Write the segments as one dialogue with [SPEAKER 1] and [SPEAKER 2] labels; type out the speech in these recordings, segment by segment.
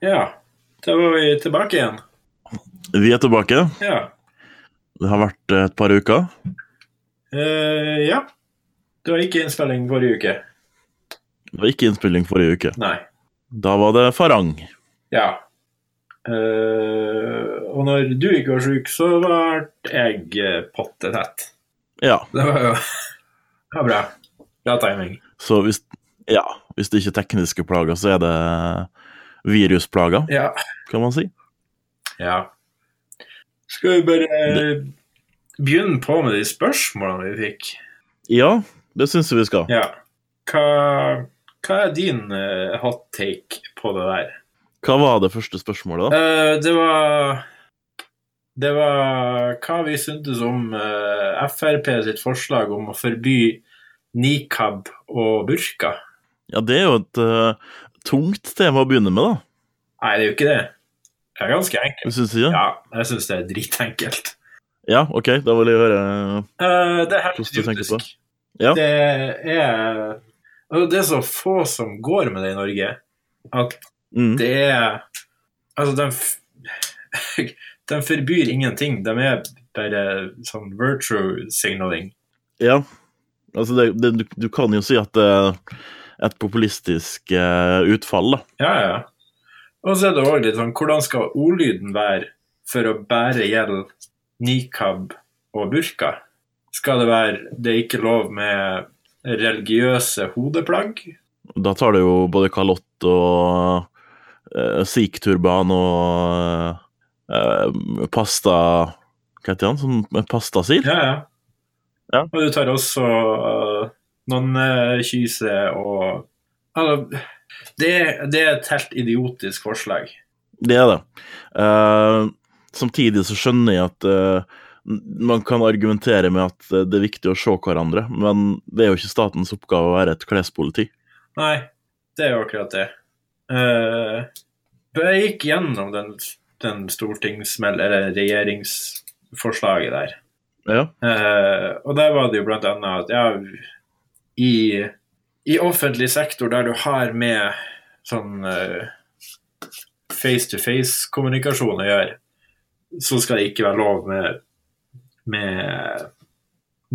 [SPEAKER 1] Ja. Da var vi tilbake igjen.
[SPEAKER 2] Vi er tilbake.
[SPEAKER 1] Ja.
[SPEAKER 2] Det har vært eh, et par uker.
[SPEAKER 1] Eh, ja. Det var ikke innspilling forrige uke.
[SPEAKER 2] Det var ikke innspilling forrige uke.
[SPEAKER 1] Nei.
[SPEAKER 2] Da var det farang.
[SPEAKER 1] Ja. Eh, og når du ikke var sjuk, så ble jeg eh, pottetett.
[SPEAKER 2] Ja,
[SPEAKER 1] Det var jo det var bra. Bra timing.
[SPEAKER 2] så hvis, ja, hvis det ikke er tekniske plager, så er det eh, virusplager,
[SPEAKER 1] Ja.
[SPEAKER 2] kan man si.
[SPEAKER 1] ja. Skal vi bare eh, begynne på med de spørsmålene vi fikk?
[SPEAKER 2] Ja, det syns jeg vi skal.
[SPEAKER 1] Ja. Hva, hva er din eh, hot take på det der?
[SPEAKER 2] Hva var det første spørsmålet, da?
[SPEAKER 1] Eh, det var Det var hva vi syntes om eh, Frp sitt forslag om å forby nikab og burka.
[SPEAKER 2] Ja, det er jo et eh, tungt tema å begynne med, da.
[SPEAKER 1] Nei, det er jo ikke det. Det er ganske enkelt.
[SPEAKER 2] Du syns ikke?
[SPEAKER 1] Ja, jeg syns det er dritenkelt.
[SPEAKER 2] Ja, OK, da vil jeg høre
[SPEAKER 1] Eh, det er helt
[SPEAKER 2] Hvordan du tenker
[SPEAKER 1] idiotisk.
[SPEAKER 2] på? Ja.
[SPEAKER 1] Det er altså, Det er så få som går med det i Norge, at
[SPEAKER 2] mm.
[SPEAKER 1] det er Altså, de, f- de forbyr ingenting. De er bare sånn virtue signaling.
[SPEAKER 2] Ja. Altså, det, det, du, du kan jo si at det er et populistisk eh, utfall, da.
[SPEAKER 1] Ja, ja. Og så er det òg litt sånn Hvordan skal ordlyden være for å bare gjelde nikab og burka? Skal det være det er ikke lov med religiøse hodeplagg?
[SPEAKER 2] Da tar det jo både kalott og uh, sikh-turban og eh, pasta Hva heter han? Sånn pastasil?
[SPEAKER 1] Ja, ja.
[SPEAKER 2] Ja.
[SPEAKER 1] Og du tar også uh, nonnekyse og Altså, det, det er et helt idiotisk forslag.
[SPEAKER 2] Det er det. Eh, samtidig så skjønner jeg at eh, man kan argumentere med at eh, det er viktig å se hverandre, men det er jo ikke statens oppgave å være et klespoliti.
[SPEAKER 1] Nei, det er jo akkurat det. Eh, jeg gikk gjennom den, den stortingsmeld... Eller regjeringsforslaget der.
[SPEAKER 2] Ja.
[SPEAKER 1] Eh, og der var det jo blant annet at ja, i, i offentlig sektor der du har med sånn face-to-face-kommunikasjon å gjøre, så skal det ikke være lov med, med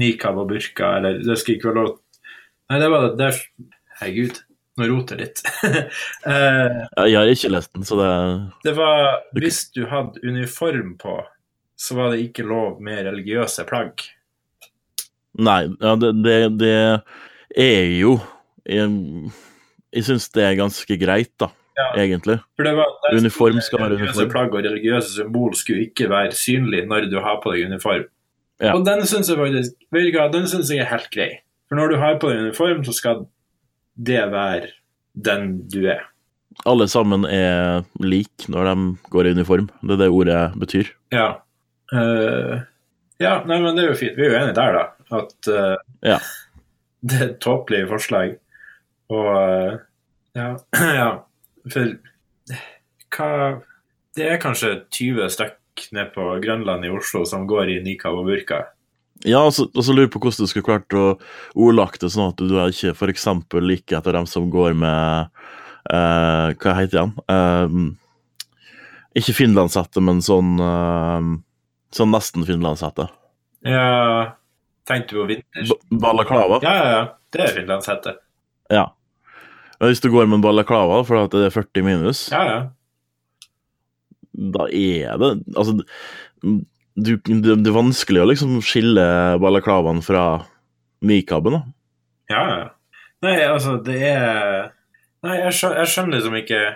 [SPEAKER 1] nikab og burka, eller det skal ikke være lov Nei, det var det der Herregud, nå roter jeg litt. Eh,
[SPEAKER 2] Jeg har ikke lest den, så det er
[SPEAKER 1] det var Hvis du hadde uniform på, så var det ikke lov med religiøse plagg.
[SPEAKER 2] Nei, ja, det, det, det er jo Jeg, jeg syns det er ganske greit, da,
[SPEAKER 1] Ja.
[SPEAKER 2] egentlig.
[SPEAKER 1] For det var, der
[SPEAKER 2] Uniform
[SPEAKER 1] sto det
[SPEAKER 2] skal være
[SPEAKER 1] religiøse
[SPEAKER 2] uniform.
[SPEAKER 1] plagg og religiøse symbol skulle ikke være synlig når du har på deg uniform.
[SPEAKER 2] Ja.
[SPEAKER 1] Og den syns jeg faktisk vet du hva, den synes jeg er helt grei. For når du har på deg uniform, så skal det være den du er.
[SPEAKER 2] Alle sammen er lik når de går i uniform. Det er det ordet betyr.
[SPEAKER 1] Ja. Eh, ja, nei, men det er jo fint. Vi er jo enige der, da. At eh,
[SPEAKER 2] Ja.
[SPEAKER 1] det er et tåpelig forslag. Og eh, ja, ja. For hva Det er kanskje 20 stykk nede på Grønland i Oslo som går i nikab og burka.
[SPEAKER 2] Ja, og så, og så lurer jeg på hvordan du skulle klart å ordlagt det sånn at du er ikke f.eks. like etter dem som går med eh, Hva heter han? Eh, ikke finlandshette, men sånn eh, Sånn nesten finlandshette.
[SPEAKER 1] Ja, tenkte du på vinters?
[SPEAKER 2] Ba- Balaklava.
[SPEAKER 1] Ja, ja, ja. Det er finlandshette.
[SPEAKER 2] Ja. Men Hvis du går med en balaklava fordi at det er 40 minus,
[SPEAKER 1] Ja, ja.
[SPEAKER 2] da er det Altså, du, det, det er vanskelig å liksom skille balaklavaen fra nikaben, da.
[SPEAKER 1] Ja, ja. Nei, altså, det er Nei, jeg skjønner, jeg skjønner liksom ikke jeg,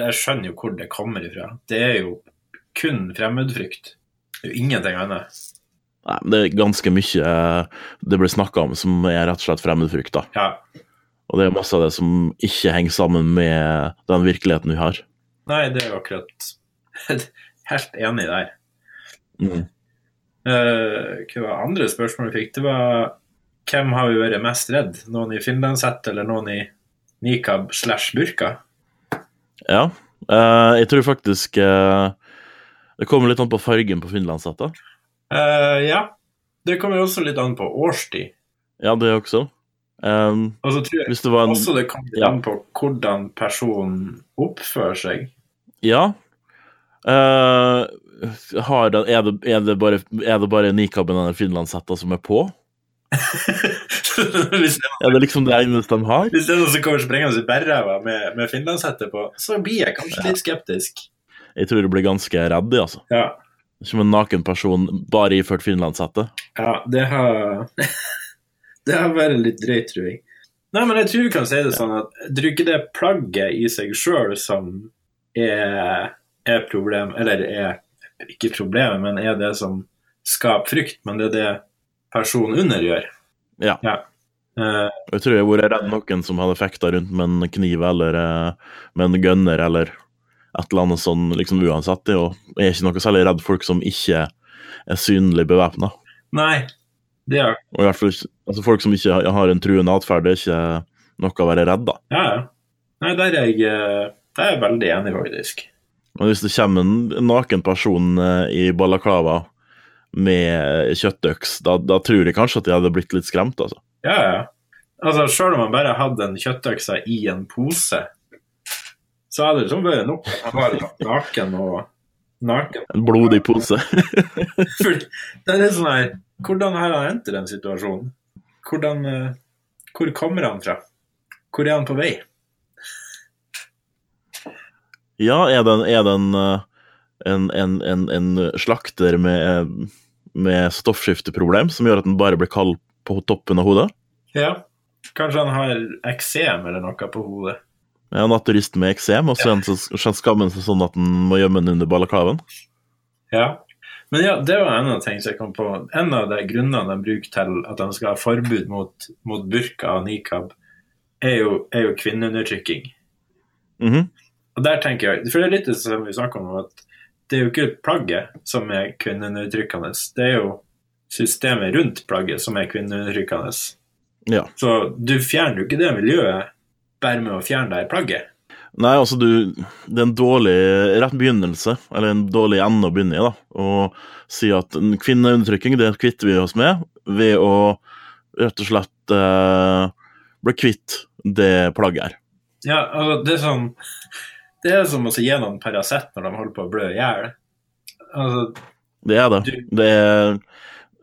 [SPEAKER 1] jeg skjønner jo hvor det kommer ifra. Det er jo kun fremmedfrykt. Det er jo ingenting annet.
[SPEAKER 2] Nei, men det er ganske mye eh, det blir snakka om som er rett og slett fremmedfrykt, da.
[SPEAKER 1] Ja.
[SPEAKER 2] Og det er masse av det som ikke henger sammen med den virkeligheten vi har.
[SPEAKER 1] Nei, det er jo akkurat Helt enig der.
[SPEAKER 2] Mm.
[SPEAKER 1] Eh, hva var andre spørsmål vi fikk? Det var hvem har vi vært mest redd? Noen i finlandshette eller noen i nikab slash burka?
[SPEAKER 2] Ja. Eh, jeg tror faktisk eh, Det kommer litt an på fargen på finlandshetta.
[SPEAKER 1] Eh, ja. Det kommer jo også litt an på årstid.
[SPEAKER 2] Ja, det også. Eh,
[SPEAKER 1] Og så tror jeg
[SPEAKER 2] hvis det var en
[SPEAKER 1] Også det kommer
[SPEAKER 2] Ja.
[SPEAKER 1] an på hvordan personen oppfører seg.
[SPEAKER 2] Ja. Eh, har den, er, det, er, det bare, er det bare nikaben eller finlandshetta som er på?
[SPEAKER 1] hvis, det,
[SPEAKER 2] Er det liksom det eneste de har?
[SPEAKER 1] hvis det er noen som kommer sprengende i bærræva med, med finlandshette på, så blir jeg kanskje litt skeptisk.
[SPEAKER 2] Jeg tror du blir ganske redd, jeg, altså.
[SPEAKER 1] Ja.
[SPEAKER 2] Som en naken person bare iført finlandshette.
[SPEAKER 1] Ja, det har Det har vært litt drøyt, tror jeg. Nei, men jeg tror vi kan si det sånn at det er ikke det plagget i seg sjøl som er, er problem, eller er ikke problemet, men er det som skaper frykt, men det er det personen under gjør.
[SPEAKER 2] Ja.
[SPEAKER 1] Eh,
[SPEAKER 2] Jeg tror jeg hadde vært redd noen som hadde fekta rundt med en kniv eller eh, med en gunner eller et eller annet sånn, liksom uansett. det, Og jeg er ikke noe særlig redd folk som ikke er synlig bevæpna.
[SPEAKER 1] nei, det er
[SPEAKER 2] Og i hvert fall ikke- altså folk som ikke har- har en truende atferd, det er ikke noe å være redd, da.
[SPEAKER 1] Ja, ja. Nei, der er jeg, eh, der er jeg veldig enig, faktisk.
[SPEAKER 2] Men hvis det kommer en naken person eh, i balaklava med eh, kjøttøks, da, da tror jeg kanskje at jeg hadde blitt litt skremt, altså.
[SPEAKER 1] Ja, ja. Altså, Sjøl om han bare hadde en kjøttøkse i en pose, så hadde det liksom vært nok at han var naken og naken.
[SPEAKER 2] En blodig pose.
[SPEAKER 1] For det er litt sånn her Hvordan har han endt i den situasjonen? Hvordan eh, Hvor kommer han fra? Hvor er han på vei?
[SPEAKER 2] Ja, er den, er den eh, en, en, en, en slakter med, eh, med stoffskifteproblem som gjør at den bare blir kald på toppen av hodet?
[SPEAKER 1] Ja. Kanskje han har eksem eller noe på hodet.
[SPEAKER 2] Ja, En naturist med eksem, og så en som- så skammer han seg sånn at han må gjemme den under balaklaven.
[SPEAKER 1] Ja. Men ja, det var en av ting som jeg kom på. En av de grunnene de bruker til at de skal ha forbud mot, mot burka og nikab, er jo, er jo kvinneundertrykking.
[SPEAKER 2] Mhm.
[SPEAKER 1] Og der tenker jeg, for det er litt det som vi snakker om, at det er jo ikke plagget som er kvinneundertrykkende, det er jo systemet rundt plagget som er kvinneundertrykkende.
[SPEAKER 2] Ja.
[SPEAKER 1] Så du fjerner jo ikke det miljøet bare med å fjerne deg i plagget.
[SPEAKER 2] Nei, altså, du Det er en dårlig rett begynnelse, eller en dårlig ende å begynne i, da. Å si at en kvinneundertrykking, det kvitter vi oss med ved å rett og slett eh, bli kvitt det plagget her.
[SPEAKER 1] Ja, altså, det er sånn Det er som å gi noen Paracet når de holder på å blø i hjel. Altså,
[SPEAKER 2] Det er det.
[SPEAKER 1] Du-
[SPEAKER 2] Det er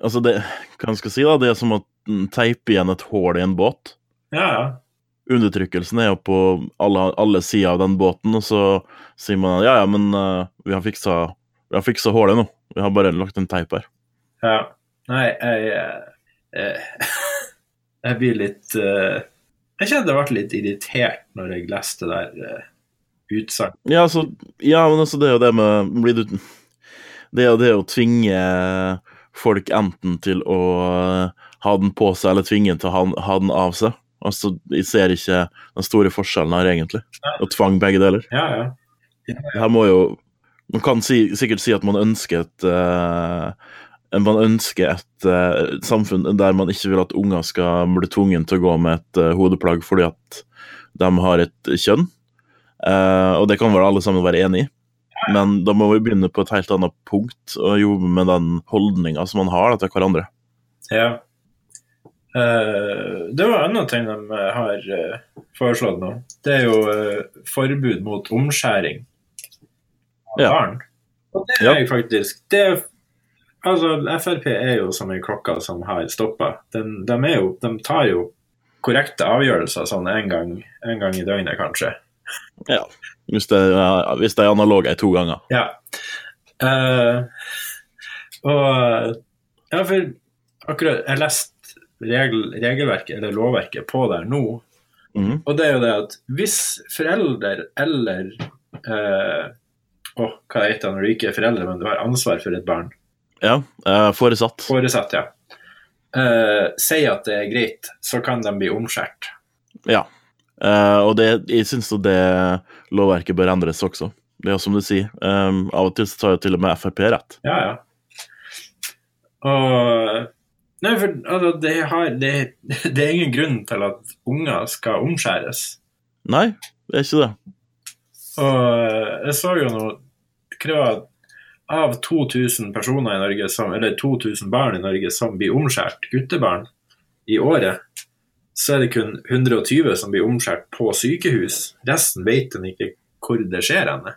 [SPEAKER 2] Altså, det Hva jeg skal si, da? Det er som å teipe igjen et hull i en båt.
[SPEAKER 1] ja, ja.
[SPEAKER 2] Undertrykkelsen er jo på alle, alle sider av den båten, og så sier man ja, ja, men eh, vi har fiksa vi har fiksa hullet nå. Vi har bare lagt en teip her.
[SPEAKER 1] ja. Nei, jeg eh, Jeg blir litt eh, Jeg kjente jeg ble litt irritert når jeg leste det der eh, utsagnet.
[SPEAKER 2] Ja, altså, ja, men altså, det er jo det med blir du, det, er jo det å tvinge folk enten til å eh, ha den på seg, eller tvinge til å ha, ha den av seg. Altså, Jeg ser ikke den store forskjellen her, egentlig. Å tvang begge deler.
[SPEAKER 1] Ja, ja.
[SPEAKER 2] Det her må jo Man kan si, sikkert si at man ønsker et eh, Man ønsker et eh, samfunn der man ikke vil at unger skal bli tvungen til å gå med et eh, hodeplagg fordi at de har et kjønn. Eh, og det kan vel alle sammen være enig i, men da må vi begynne på et helt annet punkt og jobbe med den holdninga som man har da, til hverandre.
[SPEAKER 1] ja. Eh, det var en annen ting de eh, har eh, foreslått nå. Det er jo eh, forbud mot omskjæring av
[SPEAKER 2] Ja.
[SPEAKER 1] barn. Og det
[SPEAKER 2] Ja.
[SPEAKER 1] er jo faktisk det er, Altså, Frp er jo som ei klokke som har stoppa. Den- De, er jo- de tar jo korrekte avgjørelser sånn en gang, en gang i døgnet, kanskje.
[SPEAKER 2] Hvis det, er- hvis det er analog ei to ganger.
[SPEAKER 1] Ja. Eh, og Ja, for akkurat Jeg leste regel, regelverket, eller lovverket, på der nå.
[SPEAKER 2] Mhm.
[SPEAKER 1] Og det er jo det at hvis forelder eller eh, Å, hva heter det når du ikke er forelder, men du har ansvar for et barn?
[SPEAKER 2] Ja, eh, foresatt.
[SPEAKER 1] Foresatt, ja. Eh, sier at det er greit, så kan de bli omskjært.
[SPEAKER 2] Ja. Eh, og det, jeg syns jo det lovverket bør endres også. Det er jo som du sier. ehm, av og til så tar jo til og med Frp rett.
[SPEAKER 1] Ja, ja. Og Nei, for altså, det, har, det, det er ingen grunn til at unger skal omskjæres.
[SPEAKER 2] Nei, det er ikke det.
[SPEAKER 1] Og jeg så jo nå hva det var, Av 2000 personer i Norge som, eller 2000 barn i Norge som blir omskjært, guttebarn, i året, så er det kun 120 som blir omskjært på sykehus. Resten vet en ikke hvor det skjer henne.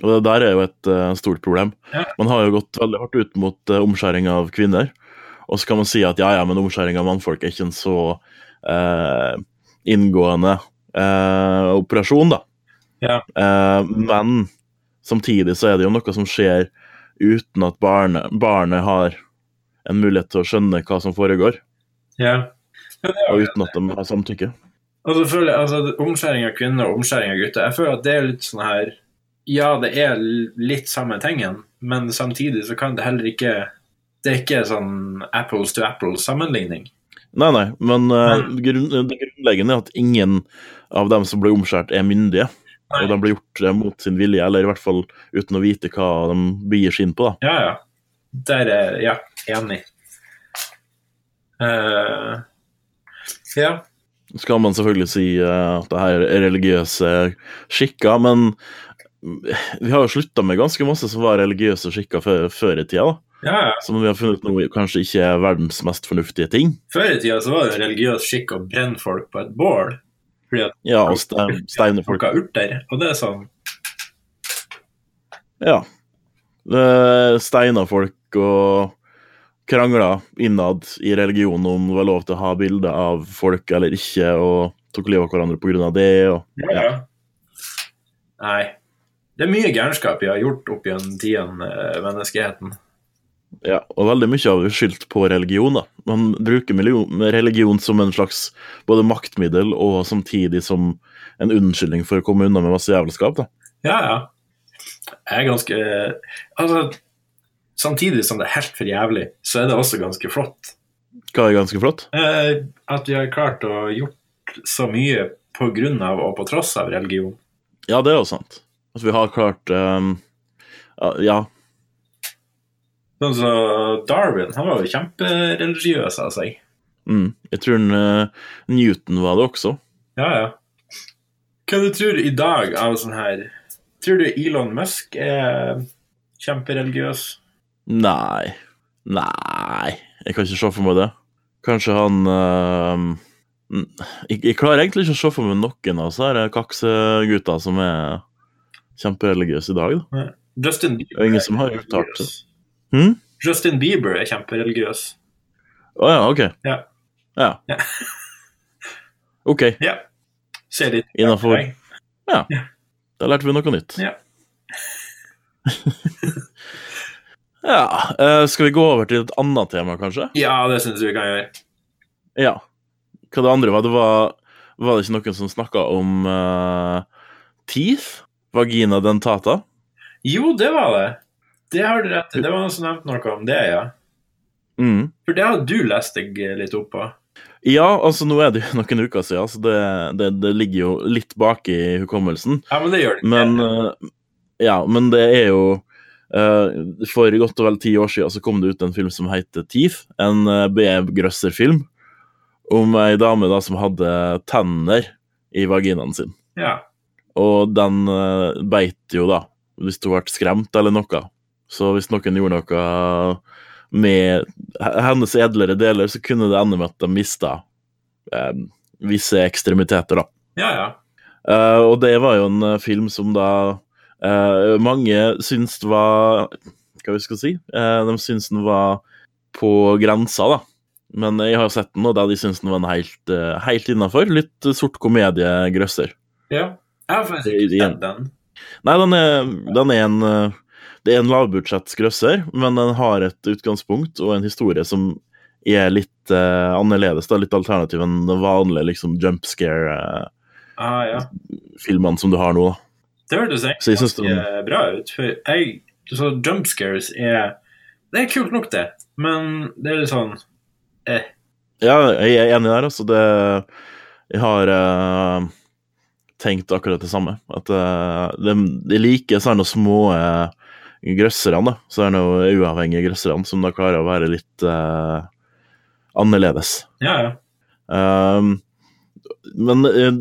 [SPEAKER 2] Og det der er jo et eh, stort problem.
[SPEAKER 1] Ja.
[SPEAKER 2] Man har jo gått veldig hardt ut mot eh, omskjæring av kvinner. Og så kan man si at ja, ja, men omskjæring av mannfolk er ikke en så eh, inngående eh, operasjon, da.
[SPEAKER 1] Ja.
[SPEAKER 2] Eh, men samtidig så er det jo noe som skjer uten at barnet, barnet har en mulighet til å skjønne hva som foregår,
[SPEAKER 1] Ja. Ja, det er jo-
[SPEAKER 2] og uten at de har samtykke.
[SPEAKER 1] Og så føler jeg, altså, Omskjæring av kvinner og omskjæring av gutter Jeg føler at det er litt sånn her Ja, det er litt samme tingen, men samtidig så kan det heller ikke Det er ikke sånn apples to apples-sammenligning.
[SPEAKER 2] Nei, nei, men eh,
[SPEAKER 1] Men-
[SPEAKER 2] grunn, det grunnleggende er at ingen av dem som blir omskjært, er myndige.
[SPEAKER 1] Nei.
[SPEAKER 2] Og de blir gjort eh, mot sin vilje, eller i hvert fall uten å vite hva de begir seg inn på. da.
[SPEAKER 1] Ja, ja. Der er Ja, enig. Eh, ja.
[SPEAKER 2] Så kan man selvfølgelig si eh, at det her er religiøse skikker, men eh, vi har jo slutta med ganske masse som var religiøse skikker før, før i tida. da.
[SPEAKER 1] ja, ja.
[SPEAKER 2] Som vi har funnet ut nå kanskje ikke er verdens mest fornuftige ting.
[SPEAKER 1] Før i tida så var det religiøs skikk å brenne folk på et bål fordi at
[SPEAKER 2] Ja, og ste- steine folk.
[SPEAKER 1] plukka urter. Og det er sånn
[SPEAKER 2] Ja. Eh, Steina folk og krangla innad i religionen om det var lov til å ha bilder av folk eller ikke, og tok livet av hverandre pga. det. Og,
[SPEAKER 1] Ja. Nei. Det er mye gærenskap vi har gjort opp gjennom tidene, eh, menneskeheten.
[SPEAKER 2] ja, og veldig mye av det er skyldt på religion. da. Man bruker million, religion som en slags både maktmiddel og samtidig som en unnskyldning for å komme unna med masse jævelskap. da.
[SPEAKER 1] Ja, ja. Jeg er ganske Altså, samtidig som det er helt for jævlig, så er det også ganske flott.
[SPEAKER 2] Hva er ganske flott.
[SPEAKER 1] Eh, at vi har klart å gjort så mye på grunn av og på tross av religion.
[SPEAKER 2] Ja, det er jo sant. At vi har klart ehm, ja, Ja,
[SPEAKER 1] Sånn som Darwin, han var jo kjempereligiøs av seg.
[SPEAKER 2] Mm. Jeg tror den, eh, Newton var det også.
[SPEAKER 1] Ja, ja. Hva du tror i dag av sånn her Tror du Elon Musk er kjempereligiøs?
[SPEAKER 2] Nei. Nei Jeg kan ikke se for meg det. Kanskje han eh, mm, jeg, jeg klarer egentlig ikke å se for meg noen av disse her kaksegutta som er kjempereligiøse i dag. Da.
[SPEAKER 1] Justin Bieber
[SPEAKER 2] Og ingen som har
[SPEAKER 1] er
[SPEAKER 2] uttalt
[SPEAKER 1] religiøs.
[SPEAKER 2] Hm?
[SPEAKER 1] Justin Bieber er kjempereligiøs.
[SPEAKER 2] Å ja, ok.
[SPEAKER 1] Ja.
[SPEAKER 2] ja.
[SPEAKER 1] Ja.
[SPEAKER 2] Ok,
[SPEAKER 1] Ja. Ser litt
[SPEAKER 2] innafor.
[SPEAKER 1] Nei.
[SPEAKER 2] Da lærte vi noe nytt.
[SPEAKER 1] Ja.
[SPEAKER 2] Ja, eh, Skal vi gå over til et annet tema, kanskje?
[SPEAKER 1] Ja, det syns vi kan gjøre.
[SPEAKER 2] Ja. Hva det andre var, det var Var det ikke noen som snakka om eh, teeth? Vagina dentata?
[SPEAKER 1] Jo, det var det. Det har du rett i. Det var noen som nevnte noe om det, ja.
[SPEAKER 2] Mm.
[SPEAKER 1] For det har du lest deg litt opp på.
[SPEAKER 2] Ja, altså nå er det jo noen uker siden, så det, det, det ligger jo litt bak i hukommelsen.
[SPEAKER 1] Ja, men det gjør det.
[SPEAKER 2] Men eh, ja, men det er jo eh, For godt og vel ti år siden så kom det ut en film som heter Teeth. En uh, B.M. Grøsser-film om ei dame da som hadde tenner i vaginaen sin.
[SPEAKER 1] Ja.
[SPEAKER 2] Og den eh, beit jo, da, hvis du ble skremt eller noe. Så hvis noen gjorde noe med he- hennes edlere deler, så kunne det ende med at de mista eh, visse ekstremiteter, da.
[SPEAKER 1] Ja, ja.
[SPEAKER 2] Eh, og det var jo en eh, film som da eh, mange syns var Hva vi skal si? Eh, de syns den var på grensa, da. Men jeg har jo sett den, og da de syns den var en helt, eh, helt innafor. Litt eh, sort komedie-grøsser.
[SPEAKER 1] ja. Jeg har faktisk ikke sett den.
[SPEAKER 2] Nei, den er, den er en eh, Det er en lavbudsjettsgrøsser, men den har et utgangspunkt og en historie som er litt eh, annerledes, da, litt alternativ enn den vanlige liksom, jump scare-filmene
[SPEAKER 1] Ah, ja.
[SPEAKER 2] som du har nå. Da.
[SPEAKER 1] Det hørtes
[SPEAKER 2] Så jeg synes
[SPEAKER 1] egentlig
[SPEAKER 2] det var-
[SPEAKER 1] ganske bra ut. For jeg, så jump scares er Det er kult nok, det, men det er litt sånn eh.
[SPEAKER 2] Ja, jeg er enig der, altså. Det Jeg har eh, tenkt akkurat det samme. At eh, de, de liker sånne små uh, grøsserne, da. Så er det noen uavhengige grøsserne som da klarer å være litt eh, annerledes.
[SPEAKER 1] Ja, ja.
[SPEAKER 2] Ehm, men eh,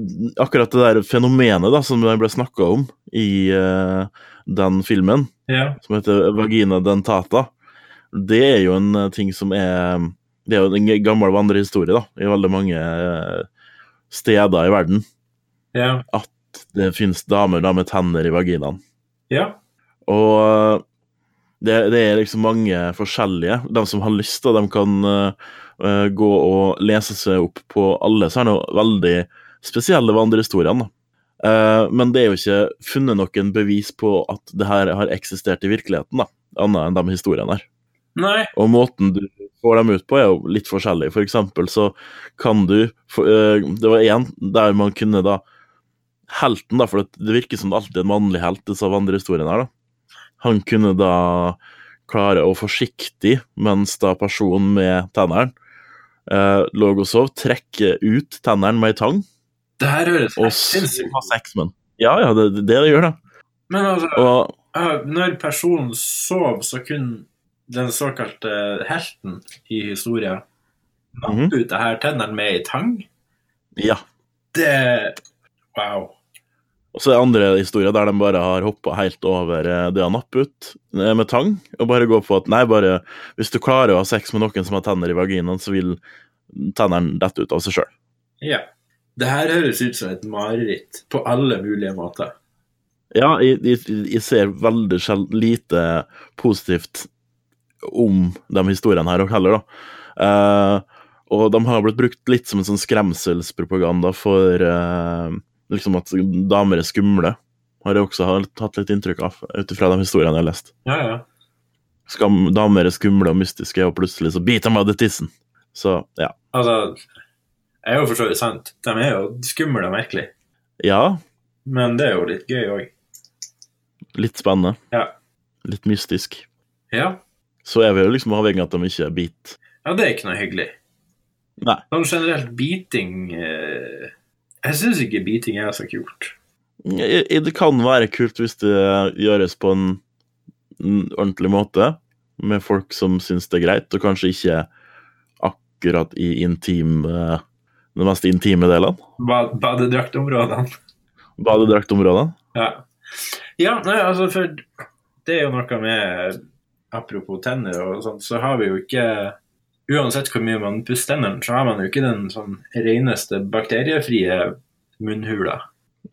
[SPEAKER 2] akkurat det der fenomenet da, som det ble snakka om i eh, den filmen,
[SPEAKER 1] ja.
[SPEAKER 2] som heter vagina dentata, det er jo en eh, ting som er Det er jo en gammel vandrehistorie da, i veldig mange eh, steder i verden.
[SPEAKER 1] ja.
[SPEAKER 2] Det fins damer da med tenner i vaginaen.
[SPEAKER 1] ja.
[SPEAKER 2] Og eh, det, det er liksom mange forskjellige. De som har lyst, da, de kan eh, eh, gå og lese seg opp på alle. Så er det jo veldig spesielle vandrehistoriene. da. Eh, men det er jo ikke funnet noen bevis på at det her har eksistert i virkeligheten, da, annet enn de historiene her.
[SPEAKER 1] Nei.
[SPEAKER 2] Og måten du får dem ut på er jo litt forskjellig. For eksempel så kan du for, eh, Det var én der man kunne da Helten, da, for det det virker som det alltid er en mannlig helt, disse vandrehistoriene her, da. Han kunne da klare å forsiktig, mens da personen med tennene eh, lå og sov, trekke ut tennene med ei tang
[SPEAKER 1] Det her høres
[SPEAKER 2] og
[SPEAKER 1] helt
[SPEAKER 2] s-
[SPEAKER 1] sinnssykt
[SPEAKER 2] ha
[SPEAKER 1] ut.
[SPEAKER 2] sex med den. Ja, ja, det det, det gjør det.
[SPEAKER 1] Men altså,
[SPEAKER 2] Og
[SPEAKER 1] ja, når personen sov, så kunne den såkalte helten i historien nappe
[SPEAKER 2] Mhm.
[SPEAKER 1] ut det her tennene med ei tang.
[SPEAKER 2] ja.
[SPEAKER 1] Det Wow.
[SPEAKER 2] Og så er det andre historier der de bare har hoppa helt over eh, det å nappe ut eh, med tang, og bare går på at nei, bare hvis du klarer å ha sex med noen som har tenner i vaginaen, så vil tennene dette ut av seg sjøl.
[SPEAKER 1] Ja. Det her høres ut som et mareritt på alle mulige måter.
[SPEAKER 2] Ja, jeg, jeg, jeg ser veldig sjel- lite positivt om de historiene her heller, da. Eh, og de har blitt brukt litt som en sånn skremselspropaganda for eh, liksom at damer er skumle. Har jeg også hatt- hatt litt inntrykk av, ut ifra de historiene jeg har lest.
[SPEAKER 1] Ja, ja.
[SPEAKER 2] skam, damer er skumle og mystiske, og plutselig så biter de av det tissen. Så ja.
[SPEAKER 1] Altså, det er jo for så vidt sant. De er jo skumle og merkelige.
[SPEAKER 2] Ja,
[SPEAKER 1] Men det er jo litt gøy òg.
[SPEAKER 2] litt spennende.
[SPEAKER 1] Ja.
[SPEAKER 2] Litt mystisk.
[SPEAKER 1] Ja.
[SPEAKER 2] Så er vi jo liksom avhengig av at de ikke biter.
[SPEAKER 1] ja, det er ikke noe hyggelig.
[SPEAKER 2] Nei.
[SPEAKER 1] Sånn generelt biting eh, Jeg syns ikke biting er så kult.
[SPEAKER 2] I- i- Det kan være kult hvis det gjøres på en en ordentlig måte, med folk som syns det er greit, og kanskje ikke akkurat i intim eh, de mest intime delene.
[SPEAKER 1] Ba Badedraktområdene.
[SPEAKER 2] Badedraktområdene.
[SPEAKER 1] Ja. ja, nei, altså, for det er jo noe med Apropos tenner og sånt, så har vi jo ikke Uansett hvor mye man pusser tennene, så har man jo ikke den sånn reneste bakteriefrie munnhula.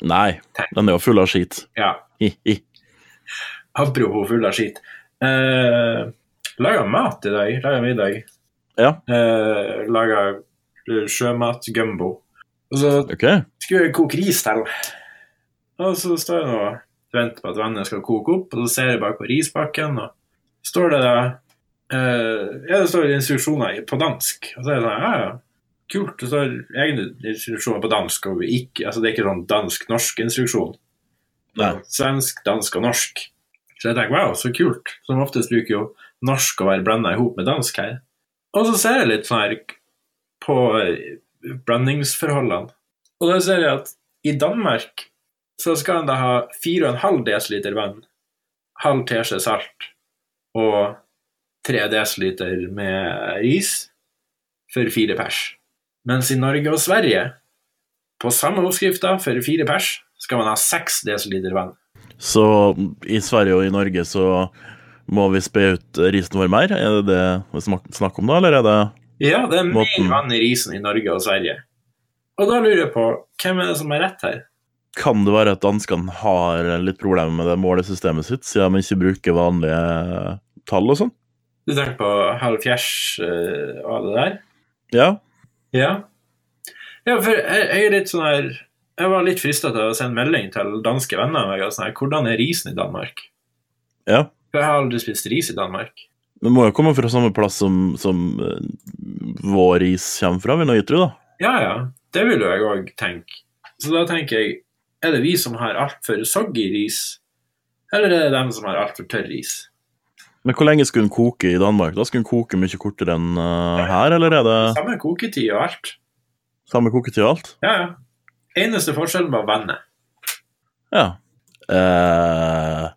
[SPEAKER 2] Nei, den er jo full av skit.
[SPEAKER 1] Ja.
[SPEAKER 2] Hi-hi.
[SPEAKER 1] Apropos full av skit. Eh, laga mat i dag. Laga middag.
[SPEAKER 2] Ja.
[SPEAKER 1] Eh, laga sjømat, gumbo. Og så
[SPEAKER 2] OK.
[SPEAKER 1] skulle jeg koke ris til. Og så står jeg nå og venter på at vannet skal koke opp, og så ser jeg bare på rispakken, og står det da eh, Ja, det står instruksjoner på dansk. Og så er det sånn Ja, ja. Kult. Det står egne instruksjoner på dansk, og ikke, altså det er ikke sånn dansk-norsk instruksjon.
[SPEAKER 2] Nei.
[SPEAKER 1] Svensk, dansk og norsk. Så jeg tenker wow, så kult. Som oftest bruker jo norsk å være blanda i hop med dansk her. Og så ser jeg litt sånn her på eh, blandingsforholdene. Og da ser jeg at i Danmark så skal en da ha 4,5 dl vann, halv teskje salt og 3 dl med ris for fire pers. Mens i Norge og Sverige, på samme oppskrifta for fire pers, skal man ha 6 dl vann.
[SPEAKER 2] Så i Sverige og i Norge så må vi spe ut risen vår mer? Er det det vi smak- snakker om da, eller er det
[SPEAKER 1] Ja, det er mer
[SPEAKER 2] Måten.
[SPEAKER 1] vann i risen i Norge og Sverige. Og da lurer jeg på, hvem er det som har rett her?
[SPEAKER 2] Kan det være at danskene har litt problemer med det målesystemet sitt, siden de ikke bruker vanlige tall og sånn?
[SPEAKER 1] Du tenker på halv fjers eh, og alle der?
[SPEAKER 2] Ja.
[SPEAKER 1] Ja. Ja, for jeg, jeg er litt sånn her Jeg var litt frista til å sende melding til danske venner. Og jeg var sånn her, Hvordan er risen i Danmark?
[SPEAKER 2] ja.
[SPEAKER 1] For jeg har aldri spist ris i Danmark.
[SPEAKER 2] Vi må jo komme fra samme plass som, som eh, vår ris kommer fra, vil jeg tro, da.
[SPEAKER 1] Ja ja, det vil jo jeg òg tenke. Så da tenker jeg, er det vi som har altfor soggy ris? Eller er det dem som har altfor tørr ris?
[SPEAKER 2] Men hvor lenge skulle den koke i Danmark? Da Skulle den koke mye kortere enn eh, her, eller er det
[SPEAKER 1] Samme koketid og alt.
[SPEAKER 2] samme koketid og alt?
[SPEAKER 1] Ja ja. Eneste forskjellen var vannet.
[SPEAKER 2] Ja. Eh...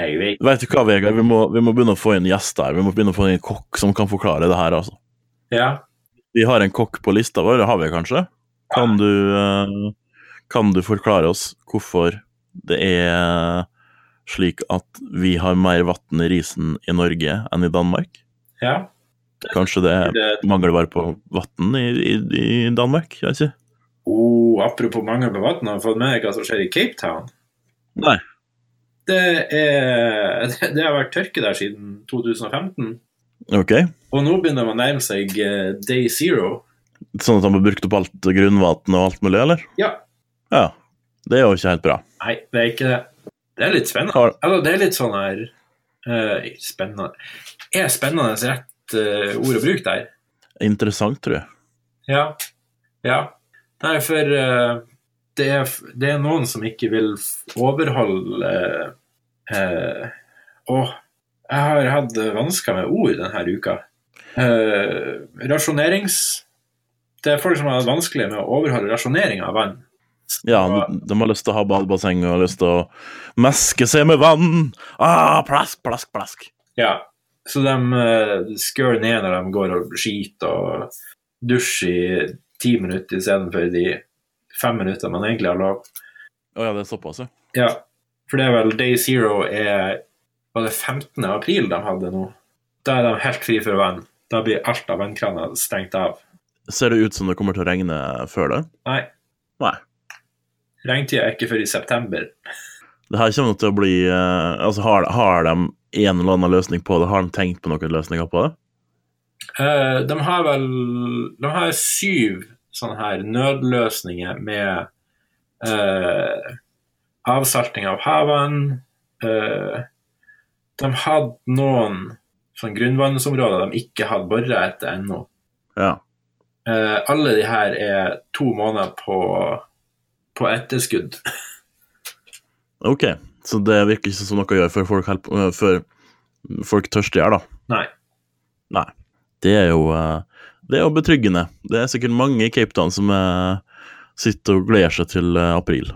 [SPEAKER 1] Jeg vet.
[SPEAKER 2] Vet du hva, Vegard? Vi må, vi må begynne å få inn gjester her. Vi må begynne å få inn en kokk som kan forklare det her, altså.
[SPEAKER 1] Ja.
[SPEAKER 2] Vi har en kokk på lista vår, det har vi kanskje?
[SPEAKER 1] Sånn.
[SPEAKER 2] Kan du, eh, kan du forklare oss hvorfor det er slik at vi har mer vann i risen i Norge enn i Danmark?
[SPEAKER 1] ja.
[SPEAKER 2] Kanskje det
[SPEAKER 1] Det,
[SPEAKER 2] mangler bare på vann i, i, i Danmark? Jeg vet ikke.
[SPEAKER 1] oh, apropos mangel på vann, har du fått med deg hva som skjer i Cape Town?
[SPEAKER 2] Nei.
[SPEAKER 1] Det, er, det har vært tørke der siden 2015,
[SPEAKER 2] Ok,
[SPEAKER 1] og nå begynner man å nærme seg eh, day zero.
[SPEAKER 2] Sånn at han har brukt opp alt grunnvann og alt mulig, eller?
[SPEAKER 1] Ja.
[SPEAKER 2] Ja. Det er jo ikke helt bra.
[SPEAKER 1] Nei, det er ikke det. Det er litt spennende.
[SPEAKER 2] Har-
[SPEAKER 1] Eller, det er litt sånn her eh, Spennende Er spennende rett eh, ord å bruke der?
[SPEAKER 2] Interessant, tror jeg.
[SPEAKER 1] Ja. ja. Nei, for eh, det, er, f- det er noen som ikke vil f- overholde eh, eh, Åh, jeg har hatt vansker med ord denne uka. Eh, rasjonerings... Det er folk som har hatt vanskelig med å overholde rasjoneringa av vann.
[SPEAKER 2] Ja, de, de har lyst til å ha badebasseng og har lyst til å meske seg med vann. Ah, plask, plask, plask.
[SPEAKER 1] Ja, så de uh, skør ned når de går og skiter og dusjer i ti minutter istedenfor de fem minuttene man egentlig har lov.
[SPEAKER 2] Å ja, det er såpass, ja.
[SPEAKER 1] Ja, for det er vel Day Zero er Var det 15. april de hadde nå? Da er de helt fri for vann. Da blir alt av vannkrana stengt av.
[SPEAKER 2] Ser det ut som det kommer til å regne før det?
[SPEAKER 1] Nei,
[SPEAKER 2] Nei.
[SPEAKER 1] regntida er ikke før i september.
[SPEAKER 2] Det her kommer til å bli eh, Altså, har, har de en eller annen løsning på det? Har de tenkt på noen løsninger på det?
[SPEAKER 1] Eh, de har vel De har syv sånne her nødløsninger med eh, avsalting av havene. eh, de hadde noen sånn grunnvannsområder de ikke hadde bora etter ennå.
[SPEAKER 2] Ja.
[SPEAKER 1] Eh, alle de her er to måneder på, på etterskudd.
[SPEAKER 2] Ok, så det virker ikke som noe å gjøre før folk, hel- øh, før folk tørste i hjel, da.
[SPEAKER 1] Nei.
[SPEAKER 2] Nei. Det er jo eh, Det er jo betryggende. Det er sikkert mange i Cape Town som eh, sitter og gleder seg til eh, april.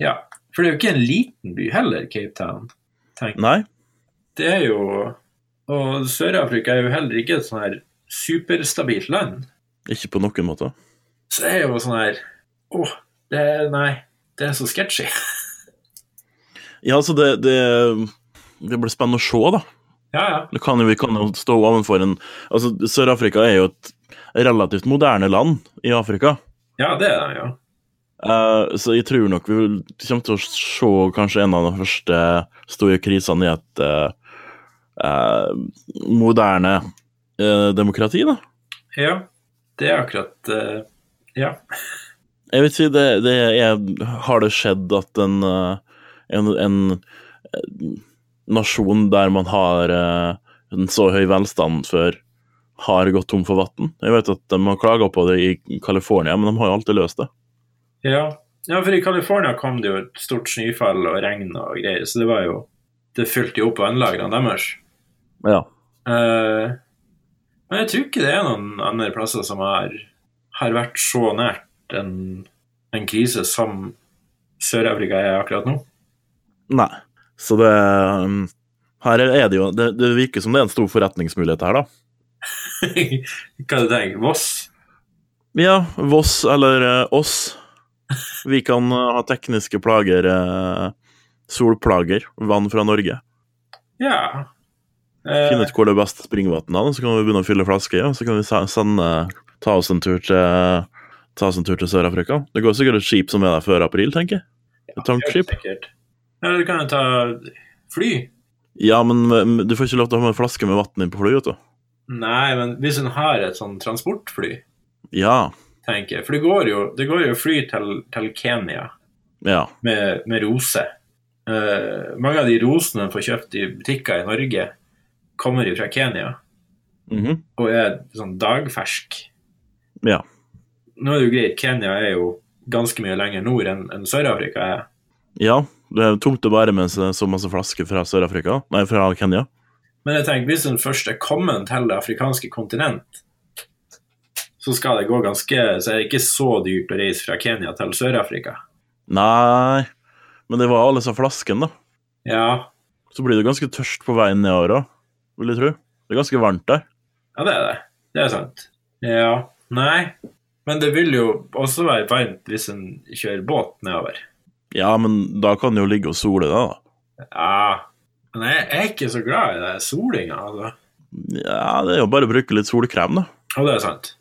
[SPEAKER 1] Ja. For det er jo ikke en liten by heller, Cape Town. tenk.
[SPEAKER 2] Nei?
[SPEAKER 1] Det er jo Og Sør-Afrika er jo heller ikke et sånn her superstabilt land.
[SPEAKER 2] Ikke på noen måte.
[SPEAKER 1] Så det er jo sånn her Åh, det er, nei, det er så sketchy.
[SPEAKER 2] Ja, altså, det, det Det blir spennende å se, da.
[SPEAKER 1] Ja, ja.
[SPEAKER 2] Det kan jo, vi kan jo stå ovenfor en Altså, Sør-Afrika er jo et relativt moderne land i Afrika.
[SPEAKER 1] Ja, det er det jo.
[SPEAKER 2] Eh, så jeg tror nok vi vil, kommer til å se kanskje en av de første store krisene i et eh, eh, moderne eh, demokrati, da.
[SPEAKER 1] Ja, det er akkurat eh, Ja.
[SPEAKER 2] Jeg vil si det, det er Har det skjedd at en, eh, en, en eh, nasjon der man har eh, en så høy velstand før, har gått tom for vann? Jeg vet at de har klaga på det i California, men de har jo alltid løst det.
[SPEAKER 1] Ja. ja, for i California kom det jo et stort snøfall og regn og greier, så det var jo Det fylte jo opp vannlagrene deres.
[SPEAKER 2] Ja.
[SPEAKER 1] Eh, men jeg tror ikke det er noen andre plasser som har, har vært så nært en, en krise som Sør-Afrika er akkurat nå.
[SPEAKER 2] Nei. Så det um, Her er det jo det, det virker som det er en stor forretningsmulighet her, da.
[SPEAKER 1] Hva tenker du? tenker? Voss?
[SPEAKER 2] Ja, Voss eller eh, oss. Vi kan eh, ha tekniske plager. eh, solplager. Vann fra Norge.
[SPEAKER 1] Ja. Eh,
[SPEAKER 2] Finne ut hvor det er best springvann er, så kan vi begynne å fylle flasker. Ja. Så kan vi se- sende Ta oss en tur til Ta oss en tur til Sør-Afrika. Det går sikkert et skip som er der før april, tenker jeg. Et tankskip.
[SPEAKER 1] Sikkert. Eller kan jeg ta fly?
[SPEAKER 2] Ja, men eh, du får ikke lov til å ha med en flaske med vann inn på flyet, vet du.
[SPEAKER 1] Nei, men hvis hun har et sånn transportfly,
[SPEAKER 2] Ja.
[SPEAKER 1] tenker jeg. For det går jo, det går jo fly til, til Kenya
[SPEAKER 2] Ja.
[SPEAKER 1] med, med roser. Eh, mange av de rosene man får kjøpt i butikker i Norge, kommer jo fra Kenya
[SPEAKER 2] Mhm.
[SPEAKER 1] og er sånn dagfersk.
[SPEAKER 2] Ja.
[SPEAKER 1] Nå er det jo greit, Kenya er jo ganske mye lenger nord enn enn Sør-Afrika er.
[SPEAKER 2] Ja, det er tomt å bære med seg så masse flasker fra Sør-Afrika, nei, fra Kenya.
[SPEAKER 1] Men jeg tenker, hvis den først er kommet til det afrikanske kontinent, så skal det gå ganske Så er det ikke så dyrt å reise fra Kenya til Sør-Afrika.
[SPEAKER 2] Nei, men det var alle disse flaskene, da.
[SPEAKER 1] Ja,
[SPEAKER 2] Så blir du ganske tørst på veien nedover òg, vil jeg tro. Det er ganske varmt der.
[SPEAKER 1] ja, det er det. Det er sant. Ja. Nei. Men det vil jo også være varmt hvis en kjører båt nedover.
[SPEAKER 2] Ja, men da kan du jo ligge og sole deg, da.
[SPEAKER 1] Ja. Men jeg jeg er ikke så glad i det solinga, altså.
[SPEAKER 2] Ja, det er jo bare å bruke litt solkrem, da.
[SPEAKER 1] Og det er sant.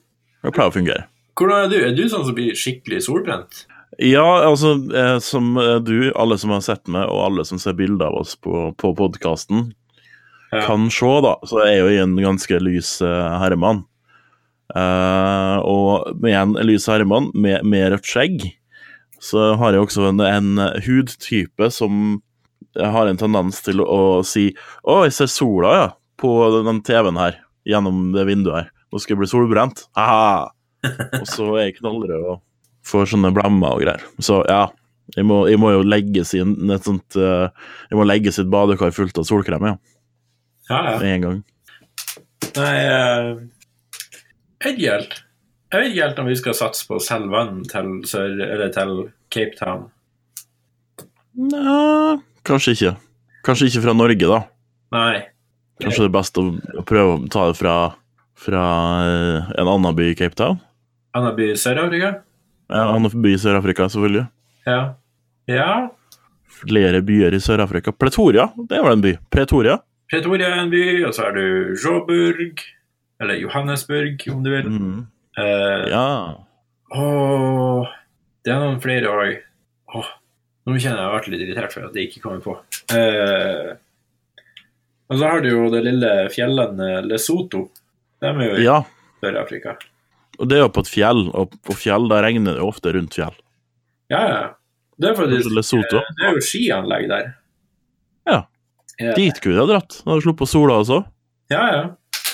[SPEAKER 2] Det pleier å fungere.
[SPEAKER 1] Hvordan er du? Er du sånn som blir skikkelig solbrent?
[SPEAKER 2] Ja, altså, eh, som eh, du, alle som har sett meg, og alle som ser bilder av oss på, på podkasten,
[SPEAKER 1] Ja.
[SPEAKER 2] kan se, da, så er jo jeg en ganske lys eh, herremann. Eh, og med en lys herremann med, med rødt skjegg, så har jeg også en, en hudtype som har en tendens til å, å si Å, jeg ser sola, ja, på den TV-en her, gjennom det vinduet her. Nå skal jeg bli solbrent. Aha! Og så er jeg knallrød og får sånne blemmer og greier. Så ja, jeg må, jeg må jo legges i en, et sånt eh, Jeg må legges i et badekar fullt av solkrem, ja.
[SPEAKER 1] Ja, ja.
[SPEAKER 2] Med en gang.
[SPEAKER 1] Nei eh, Jeg vet ikke helt. Jeg vet ikke helt om vi skal satse på å selge vann til, Sør- eller til Cape Town.
[SPEAKER 2] Nja Kanskje ikke. Kanskje ikke fra Norge, da.
[SPEAKER 1] Nei.
[SPEAKER 2] Kanskje det er best å, å prøve å ta det fra, fra eh, en annen by i Cape Town?
[SPEAKER 1] Anna by i Sør-Afrika?
[SPEAKER 2] En annen by i Sør-Afrika, selvfølgelig.
[SPEAKER 1] Ja. ja.
[SPEAKER 2] Flere byer i Sør-Afrika. Pretoria, det var en by. Pretoria.
[SPEAKER 1] Pretoria er en by, og så er du Joburg. Eller Johannesburg, om du vil.
[SPEAKER 2] Mm.
[SPEAKER 1] Eh,
[SPEAKER 2] Ja.
[SPEAKER 1] Åh, det er noen flere år. Åh, nå kjenner jeg jeg ble litt irritert for at det ikke kommer på. Eh, og så har du jo det lille fjellandet Lesotho. De er jo i
[SPEAKER 2] ja.
[SPEAKER 1] Sør-Afrika.
[SPEAKER 2] Og det er jo på et fjell, og på fjell der regner det jo ofte rundt fjell.
[SPEAKER 1] Ja, ja. Det er faktisk
[SPEAKER 2] Kanskje Lesotho.
[SPEAKER 1] eh, Det er jo skianlegg der.
[SPEAKER 2] Ja.
[SPEAKER 1] Ja, ja.
[SPEAKER 2] Dit kunne jeg dratt. Jeg hadde sluppet sola også.
[SPEAKER 1] ja.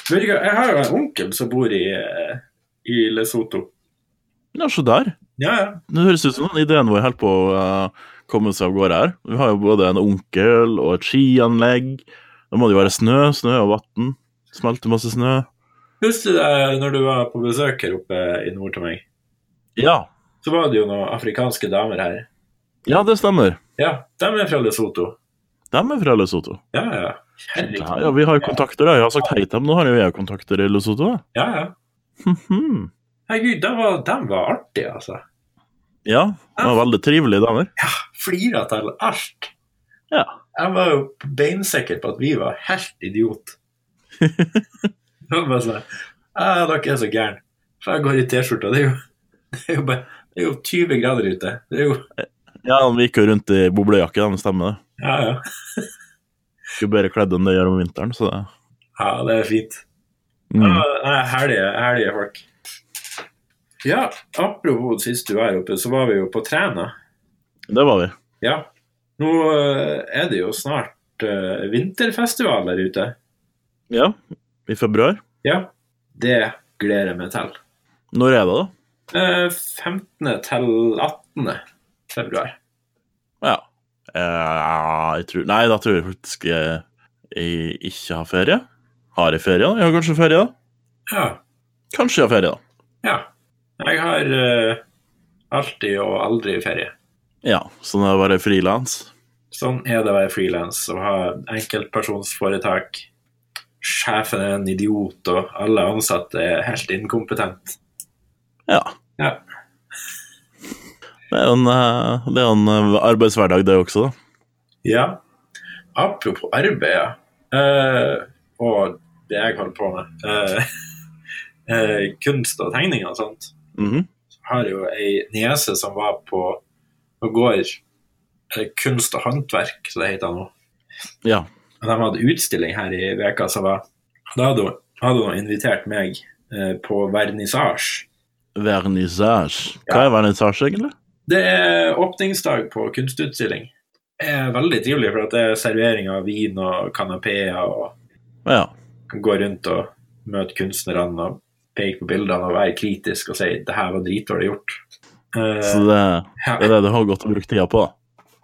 [SPEAKER 1] Vet du hva, jeg har jo en onkel som bor i, eh, i Lesotho.
[SPEAKER 2] Ja, se der.
[SPEAKER 1] Ja, ja.
[SPEAKER 2] Det høres ut som den ideen vår holder på å eh, komme seg av gårde her. Vi har jo både en onkel og et skianlegg. Da må det jo være snø, snø og vann. Smelte masse snø.
[SPEAKER 1] Husker du det når du var på besøk her oppe i nord til meg?
[SPEAKER 2] Ja,
[SPEAKER 1] Så var det jo noen afrikanske damer her.
[SPEAKER 2] ja det stemmer.
[SPEAKER 1] Ja, de er fra Lesotho.
[SPEAKER 2] De er fra Lesotho.
[SPEAKER 1] Ja, ja. Herregud.
[SPEAKER 2] Ja, ja, vi har jo kontakter, ja. Jeg har sagt hei til dem, nå har jo jeg kontakter i Lesotho. da.
[SPEAKER 1] Ja, ja.
[SPEAKER 2] Mhm.
[SPEAKER 1] Herregud, de var, de var artige, altså.
[SPEAKER 2] ja, de er veldig trivelige damer.
[SPEAKER 1] Flira til alt.
[SPEAKER 2] Ja.
[SPEAKER 1] Jeg var jo beinsikker på at vi var helt idiot. Det var bare sånn «Ah, Dere er så gærne. For jeg går i T-skjorta. Det, er jo- det, er jo bare- det er jo 20 grader ute. Det er jo
[SPEAKER 2] Ja, de gikk jo rundt i boblejakke, de stemmer det.
[SPEAKER 1] Ja, ja.
[SPEAKER 2] Ikke bedre kledd enn det gjør om vinteren, så det
[SPEAKER 1] Ja, det er fint.
[SPEAKER 2] mm.
[SPEAKER 1] Ja, nei, Herlige, herlige folk. Ja, apropos sist du var her oppe, så var vi jo på Træna.
[SPEAKER 2] Det var vi.
[SPEAKER 1] Ja. Nå eh, er det jo snart eh, vinterfestival der ute.
[SPEAKER 2] Ja, i februar.
[SPEAKER 1] Ja. Det gleder jeg meg til.
[SPEAKER 2] Når er det, da?
[SPEAKER 1] Eh, 15. til 18. februar.
[SPEAKER 2] Ja. Eh, jeg tror, nei, da tror jeg faktisk jeg, jeg ikke har ferie. Har jeg ferie, da? Jeg har kanskje ferie, da?
[SPEAKER 1] Ja.
[SPEAKER 2] Kanskje jeg har ferie, da.
[SPEAKER 1] ja. Jeg har eh, alltid og aldri ferie.
[SPEAKER 2] Ja, så da var det frilans.
[SPEAKER 1] Sånn er det å være frilans og ha enkeltpersonsforetak. Sjefen er en idiot, og alle ansatte er helt inkompetent.
[SPEAKER 2] Ja.
[SPEAKER 1] Ja.
[SPEAKER 2] Det er jo en, eh, det er jo en eh, arbeidshverdag, det også, da.
[SPEAKER 1] Ja. Apropos arbeid, ja. Eh, og det jeg holder på med. eh, eh, kunst og tegning og sånt.
[SPEAKER 2] Mhm.
[SPEAKER 1] Jeg har jo ei niese som var på og går eh, kunst og håndverk, som det heter nå.
[SPEAKER 2] Ja.
[SPEAKER 1] Og de hadde utstilling her i veka som var. Da hadde hun, hadde hun invitert meg eh, på vernissasje.
[SPEAKER 2] Vernissasje. Hva er vernissasje, egentlig?
[SPEAKER 1] Det er åpningsdag på kunstutstilling. Det er veldig trivelig, for at det er servering av vin og kanapeer og
[SPEAKER 2] Ja.
[SPEAKER 1] kan gå rundt og møte kunstnerne og peke på bildene og være kritisk og si 'det her var dritdårlig gjort'.
[SPEAKER 2] Så
[SPEAKER 1] Eh,
[SPEAKER 2] det, det
[SPEAKER 1] ja.
[SPEAKER 2] er det du har godt å bruke tida på, da.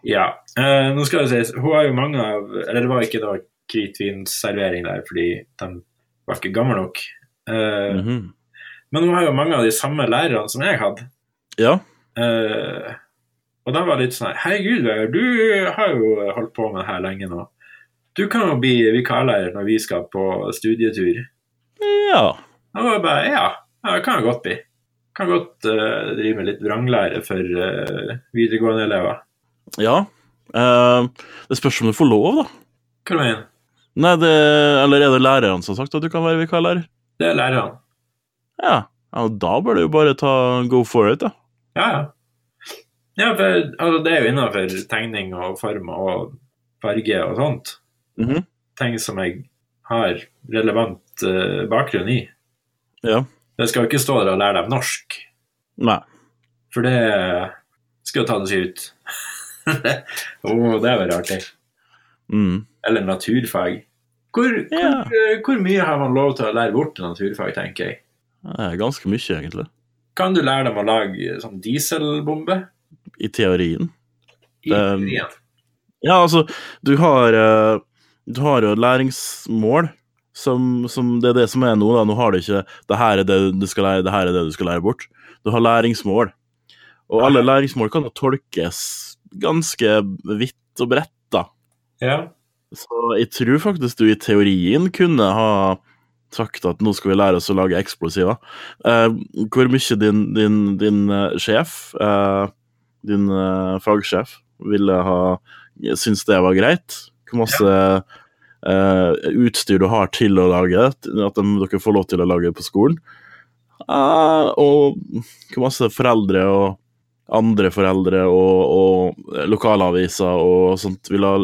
[SPEAKER 1] ja. Eh, nå skal det sies, hun har jo mange av Eller det var ikke da hvitvinsservering der fordi de var ikke gamle nok. Eh,
[SPEAKER 2] Mhm.
[SPEAKER 1] Men hun har jo mange av de samme lærerne som jeg hadde.
[SPEAKER 2] Ja.
[SPEAKER 1] Eh, og da var det litt sånn her Herregud, Vegard, du har jo holdt på med det her lenge nå. Du kan jo bli vikarlærer når vi skal på studietur.
[SPEAKER 2] Ja.
[SPEAKER 1] Da var jeg bare Ja, ja det kan jeg godt bli. Kan godt eh, drive med litt vranglære for eh, videregående elever.
[SPEAKER 2] Ja. Eh, det spørs om du får lov, da.
[SPEAKER 1] Hva du mener
[SPEAKER 2] Nei, det, eller er det læreren som har sagt at du kan være vikarlærer?
[SPEAKER 1] Det er lærerne.
[SPEAKER 2] Ja. ja, da bør du jo bare ta go for it, da.
[SPEAKER 1] Ja, ja. Ja, for altså, det er jo innafor tegning og form og farge og sånt.
[SPEAKER 2] Mhm.
[SPEAKER 1] Ting som jeg har relevant eh, bakgrunn i.
[SPEAKER 2] Ja.
[SPEAKER 1] Jeg skal jo ikke stå der og lære dem norsk,
[SPEAKER 2] Nei.
[SPEAKER 1] for det skal jo ta det seg ut. Å, det er veldig artig.
[SPEAKER 2] Mm.
[SPEAKER 1] Eller naturfag. Hvor,
[SPEAKER 2] Ja.
[SPEAKER 1] hvor, eh, hvor mye har man lov til å lære bort i naturfag, tenker jeg.
[SPEAKER 2] Det er ganske mye, egentlig.
[SPEAKER 1] Kan du lære dem å lage eh, sånn dieselbombe?
[SPEAKER 2] I teorien.
[SPEAKER 1] I
[SPEAKER 2] Um,
[SPEAKER 1] teorien.
[SPEAKER 2] Ja, altså, du har eh, Du har jo læringsmål som, som Det er det som er nå, da. Nå har du ikke 'det her er det du skal lære, det her er det du skal lære bort'. Du har læringsmål. Og alle læringsmål kan jo tolkes ganske vidt og bredt, da.
[SPEAKER 1] Ja.
[SPEAKER 2] Så jeg tror faktisk du i teorien kunne ha sagt at nå skal vi lære oss å lage eksplosiver. Eh, hvor mye din, din, din eh, sjef, eh, din eh, fagsjef, ville ha syntes det var greit? Hvor masse eh, utstyr du har til å lage, at de- dere får lov til å lage på skolen? Eh, og hvor masse foreldre og andre foreldre og, og lokalaviser og sånt ville ha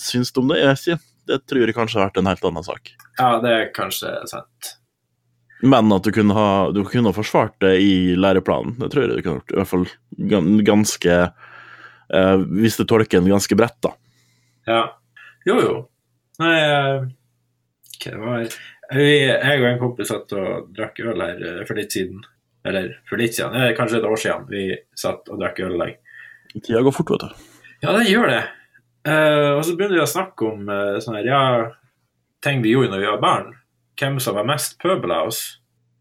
[SPEAKER 2] syns du om det? Jeg sier, det tror jeg kanskje har vært en helt annen sak.
[SPEAKER 1] ja, det er kanskje sant.
[SPEAKER 2] Men at du kunne ha, du kunne ha forsvart det i læreplanen, det tror jeg du kunne gjort. I hvert fall gan- ganske eh, Hvis det tolker en ganske bredt, da.
[SPEAKER 1] Ja. Jo, jo. Nei, eh, hva det var Vi, Jeg og en kompis satt og drakk øl her eh, for litt siden. Eller for litt siden, eh, kanskje et år siden vi satt og drakk øl i lag.
[SPEAKER 2] Tida går fort, vet du.
[SPEAKER 1] Ja, det gjør det. Eh, og så begynner vi å snakke om eh, sånn her, ja, ting vi gjorde når vi var barn. Hvem som var mest pøbel av oss.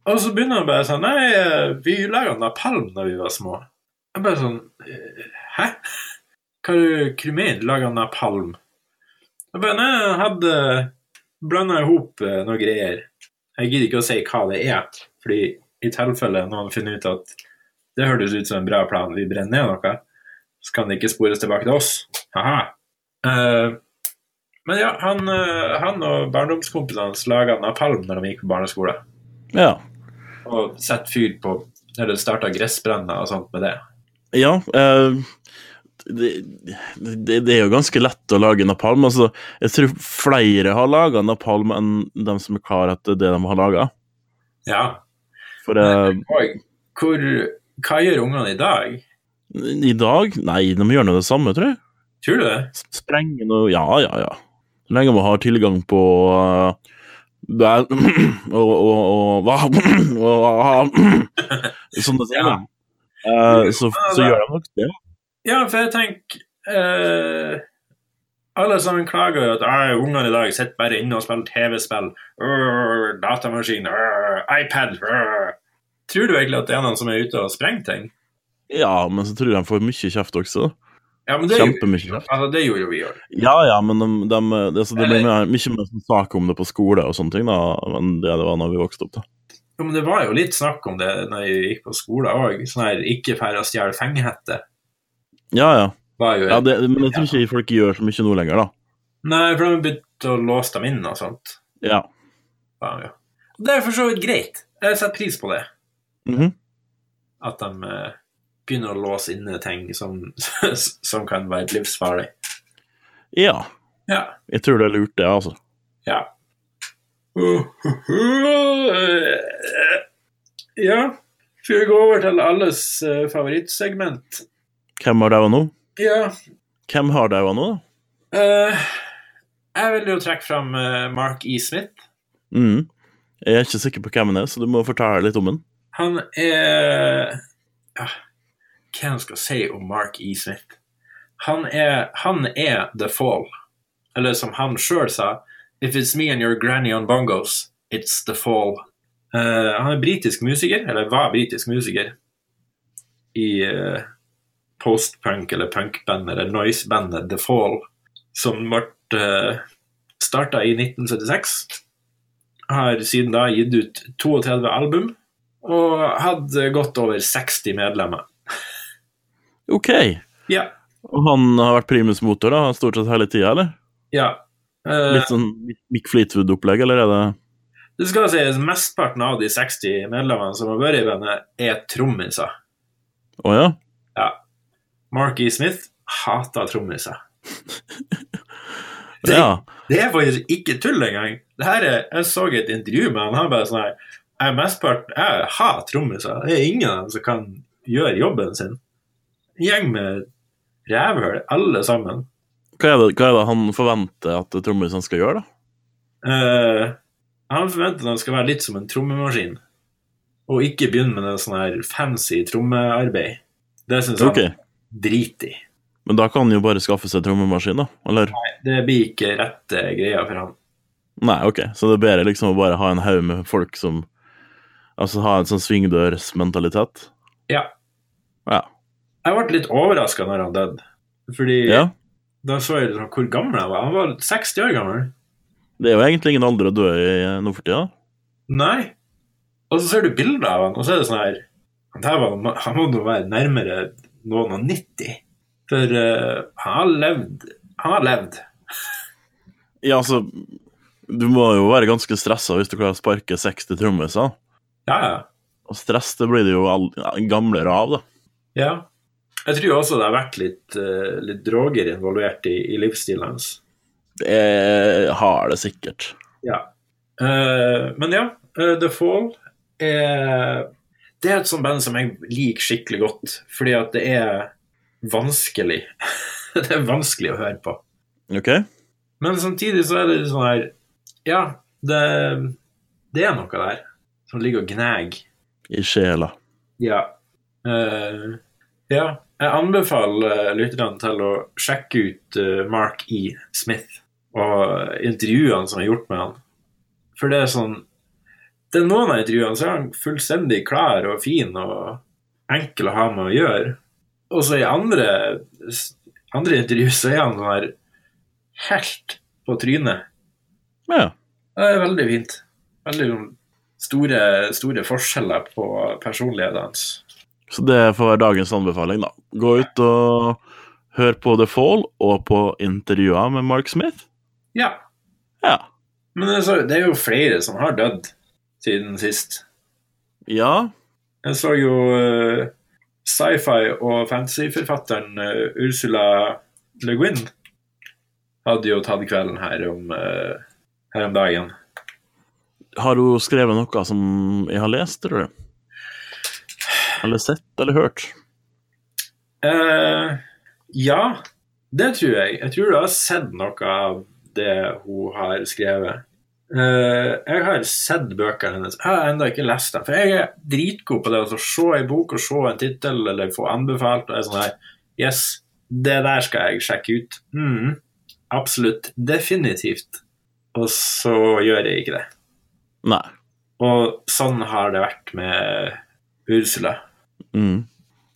[SPEAKER 1] Og så begynner han bare sånn Nei, eh, vi laga napalm da vi var små. Jeg bare sånn eh, Hæ? Hva er det hva du mener? Laga napalm? Jeg bare Nei, jeg hadde blanda i hop eh, noen greier. Jeg gidder ikke å si hva det er, fordi i tilfelle noen finner ut at det hørtes ut som en bra plan, vi brenner ned noe så kan det ikke spores tilbake til oss. Haha. Eh, men ja, han, eh, han og barndomskompisene hans laga napalm når de gikk på barneskole,
[SPEAKER 2] Ja.
[SPEAKER 1] og satte fyr på Eller starta gressbrenner og sånt med det.
[SPEAKER 2] ja eh, det, det, det er jo ganske lett å lage napalm. Altså, jeg tror flere har laga napalm enn dem som er klar etter det de har laga.
[SPEAKER 1] Ja.
[SPEAKER 2] For eh,
[SPEAKER 1] Og hvor, hva gjør ungene i dag?
[SPEAKER 2] i dag Nei, de gjør nå det samme, tror jeg.
[SPEAKER 1] Tror du det?
[SPEAKER 2] Sprenge noe Ja, ja, ja. Så lenge man har tilgang på eh, bæ- og, og, og, hva? og, ha- Sånne ting. da. Eh, så, så gjør de nok det.
[SPEAKER 1] Ja, for jeg tenker eh, Alle sammen klager jo at «Ai, ungene i dag sitter bare inne og spiller TV-spill. Øh, Datamaskin. øh, iPad. øh». Tror du egentlig at det er noen som er ute og sprenger ting?
[SPEAKER 2] Ja, men så tror jeg de får mye kjeft også.
[SPEAKER 1] Ja, men det er jo-
[SPEAKER 2] Kjempemye kjeft.
[SPEAKER 1] Altså, det gjorde jo vi òg.
[SPEAKER 2] Ja ja, men de, de, altså, det blir mer- mye mer sånn sak om det på skole og sånne ting da, enn det det var når vi vokste opp. da.
[SPEAKER 1] Jo, men det var jo litt snakk om det når jeg gikk på skolen òg. Sånn her ikke færre å stjele fengehette.
[SPEAKER 2] Ja ja.
[SPEAKER 1] Var jo
[SPEAKER 2] ja det, men jeg tror ikke folk gjør så mye nå lenger, da.
[SPEAKER 1] Nei, for de begynte å låse dem inn og sånt.
[SPEAKER 2] Ja.
[SPEAKER 1] Var de jo. Det er for så vidt greit. Jeg setter pris på det.
[SPEAKER 2] Mhm.
[SPEAKER 1] At de eh, begynner å låse inne ting som, som kan være livsfarlig.
[SPEAKER 2] Ja.
[SPEAKER 1] Ja.
[SPEAKER 2] Jeg tror det er lurt, det, altså.
[SPEAKER 1] Ja. Ja. Skal vi gå over til alles eh, favorittsegment?
[SPEAKER 2] Hvem har daua nå?
[SPEAKER 1] Ja.
[SPEAKER 2] Hvem har daua nå, da?
[SPEAKER 1] Eh, jeg vil jo trekke fram eh, Mark E. Smith.
[SPEAKER 2] Mm. Jeg er ikke sikker på hvem han er, så du må fortelle litt om han.
[SPEAKER 1] Han er ja, Hva man skal si om Mark E. Smith? Han er, han er The Fall. Eller som han sjøl sa If it's me and your granny on bongos, it's The Fall. Eh, han er britisk musiker, eller var britisk musiker, i eh, postpunk- eller punkbandet, eller noisebandet The Fall, som ble uh, starta i 1976. Har siden da gitt ut 32 album, og hadde godt over 60 medlemmer.
[SPEAKER 2] Ok.
[SPEAKER 1] Ja.
[SPEAKER 2] Og han har vært primus motor da, stort sett hele tida, eller?
[SPEAKER 1] ja. Eh,
[SPEAKER 2] Litt sånn Mick Fleetwood-opplegg, eller er det
[SPEAKER 1] det skal sies mesteparten av de 60 medlemmene som har vært i bandet, er trommiser.
[SPEAKER 2] Å ja?
[SPEAKER 1] Mark E. Smith hater trommiser. Det-
[SPEAKER 2] Ja.
[SPEAKER 1] Det er faktisk ikke tull engang. Det her er, jeg så et intervju med han, han bare sånn her Jeg, mestpart, jeg har trommiser. Det er ingen av dem som kan gjøre jobben sin. En gjeng med rævhull, alle sammen.
[SPEAKER 2] Hva er, det, hva er det han forventer at trommisen skal gjøre, da?
[SPEAKER 1] Eh, han forventer at han skal være litt som en trommemaskin, og ikke begynne med noe sånn her fancy trommearbeid. Det syns
[SPEAKER 2] Ok,
[SPEAKER 1] han drit i.
[SPEAKER 2] Men da kan han jo bare skaffe seg trommemaskin, da? Eller?
[SPEAKER 1] Det blir ikke rette greia for han.
[SPEAKER 2] Nei, ok. Så det er bedre liksom å bare ha en haug med folk som Altså ha en sånn svingdørsmentalitet?
[SPEAKER 1] Ja.
[SPEAKER 2] Ja.
[SPEAKER 1] Jeg ble litt overraska når han døde, fordi
[SPEAKER 2] ja.
[SPEAKER 1] da så jeg liksom hvor gammel han var. Han var 60 år gammel.
[SPEAKER 2] Det er jo egentlig ingen alder å dø i eh, nå for tida.
[SPEAKER 1] Nei. Og så ser du bilder av han, og så er det sånn her Han, der var, han må nå være nærmere noen og 90. For eh, han har levd. Han har levd.
[SPEAKER 2] Ja, altså Du må jo være ganske stressa hvis du klarer å sparke 60 trommiser.
[SPEAKER 1] Ja, ja.
[SPEAKER 2] Og stress det blir det jo all, gamlere av, da.
[SPEAKER 1] Ja. Jeg tror også det har vært litt, eh, litt droger involvert i, i livsstilen hans.
[SPEAKER 2] Det er- har det sikkert.
[SPEAKER 1] Ja. Eh, men ja, eh, The Fall er Det er et sånt band som jeg liker skikkelig godt, fordi at det er vanskelig. det er vanskelig å høre på.
[SPEAKER 2] OK?
[SPEAKER 1] Men samtidig så er det litt sånn her Ja, det, det er noe der som ligger og gnager.
[SPEAKER 2] I sjela.
[SPEAKER 1] Ja. Eh, ja. Jeg anbefaler eh, lytterne til å sjekke ut eh, Mark E. Smith og intervjuene som er gjort med han. For det er sånn Det er noen av intervjuene så er han fullstendig klar og fin og enkel å ha med å gjøre. Og så i andre, andre intervju så er han sånn her helt på trynet.
[SPEAKER 2] Ja.
[SPEAKER 1] Ja, Det er veldig fint. Veldig sånn store, store forskjeller på personligheten hans.
[SPEAKER 2] Så det får være dagens anbefaling, da. Gå ut og hør på The Fall og på intervjuer med Mark Smith.
[SPEAKER 1] Ja.
[SPEAKER 2] Ja.
[SPEAKER 1] Men det er så- det er jo flere som har dødd siden sist.
[SPEAKER 2] Ja.
[SPEAKER 1] Jeg så jo eh, sci-fi- og fantasyforfatteren eh, Ursula Le Guin hadde jo tatt kvelden her om, eh, her om dagen.
[SPEAKER 2] Har hun skrevet noe som jeg har lest, tror du? Eller sett eller hørt?
[SPEAKER 1] Eh, ja, det tror jeg. Jeg tror du har sett noe av det hun har skrevet. Eh, jeg har sett bøkene hennes. Jeg har ennå ikke lest dem. For jeg er dritgod på det å se en bok og se en tittel eller få anbefalt. Og jeg er sånn her Yes, det der skal jeg sjekke ut. Mm, absolutt. Definitivt. Og så gjør jeg ikke det.
[SPEAKER 2] Nei.
[SPEAKER 1] Og sånn har det vært med Ursula.
[SPEAKER 2] Mm.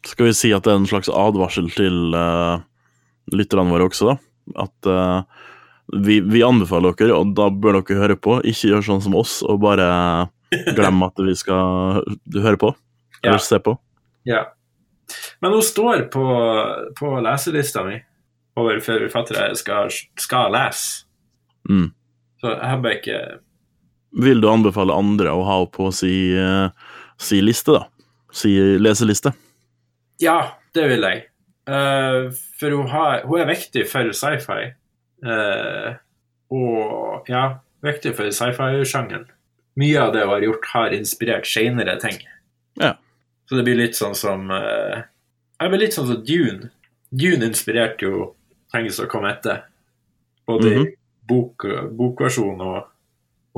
[SPEAKER 2] Skal vi si at det er en slags advarsel til eh, lytterne våre også, da? At eh, vi, vi anbefaler dere, og da bør dere høre på. Ikke gjør sånn som oss og bare glem at vi skal høre på.
[SPEAKER 1] Ja.
[SPEAKER 2] Eller se på.
[SPEAKER 1] Ja. Men hun står på, på leselista mi over forfattere jeg skal, skal lese.
[SPEAKER 2] Mm.
[SPEAKER 1] Så jeg har bare ikke
[SPEAKER 2] Vil du anbefale andre å ha på si, eh, si liste, da? Si leseliste.
[SPEAKER 1] Ja, det vil jeg. Eh, for hun, har, hun er viktig for sci-fi. Eh, og ja, viktig for sci-fi-sjangeren. Mye av det hun har gjort, har inspirert seinere ting.
[SPEAKER 2] Ja.
[SPEAKER 1] Så det blir litt sånn som eh, Jeg blir litt sånn som Dune. Dune inspirerte jo ting som kom etter. Både
[SPEAKER 2] Mhm.
[SPEAKER 1] i bok, bokversjonen og,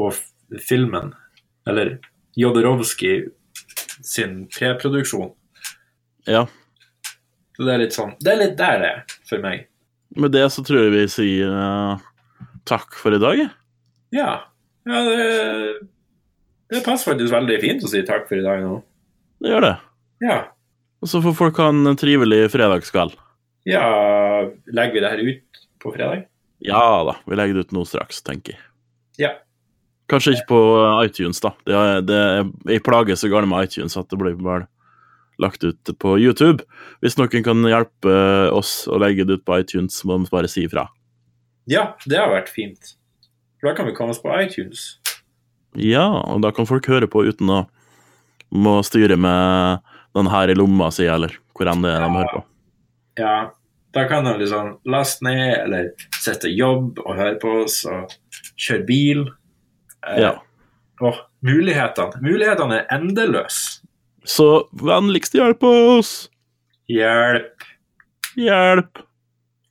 [SPEAKER 1] og f- filmen. Eller Jodorowsky sin preproduksjon.
[SPEAKER 2] Ja.
[SPEAKER 1] Så det er litt sånn Det er litt der det er for meg.
[SPEAKER 2] Med det så tror jeg vi sier eh, takk for i dag.
[SPEAKER 1] Ja. ja det, det passer faktisk veldig fint å si takk for i dag nå.
[SPEAKER 2] Det gjør det.
[SPEAKER 1] Ja.
[SPEAKER 2] Og så får folk ha en trivelig fredagskveld.
[SPEAKER 1] ja legger vi det her ut på fredag?
[SPEAKER 2] Ja da, vi legger det ut nå straks, tenker jeg.
[SPEAKER 1] Ja.
[SPEAKER 2] Kanskje ikke på eh, iTunes, da. Det er, det er, jeg plager så gærent med iTunes at det blir vel lagt ut på YouTube. Hvis noen kan hjelpe eh, oss å legge det ut på iTunes, må de bare si ifra.
[SPEAKER 1] Ja, det har vært fint. For da kan vi komme oss på iTunes.
[SPEAKER 2] Ja, og da kan folk høre på uten å må styre med den her i lomma si, eller hvor enn det er de hører på.
[SPEAKER 1] Ja, da kan de liksom laste ned, eller sette jobb og høre på oss, og kjøre bil. Eh,
[SPEAKER 2] Ja.
[SPEAKER 1] Åh, mulighetene. Mulighetene er endeløse.
[SPEAKER 2] Så vennligst hjelp oss!
[SPEAKER 1] Hjelp.
[SPEAKER 2] Hjelp!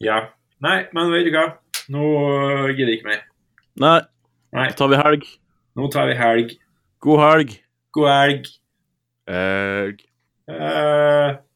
[SPEAKER 1] Ja. Nei, men vet du hva? Nå øh, gidder jeg ikke mer.
[SPEAKER 2] Nei,
[SPEAKER 1] Nei,
[SPEAKER 2] da tar vi helg.
[SPEAKER 1] nå tar vi helg.
[SPEAKER 2] God helg.
[SPEAKER 1] God helg.
[SPEAKER 2] Helg.
[SPEAKER 1] Eh,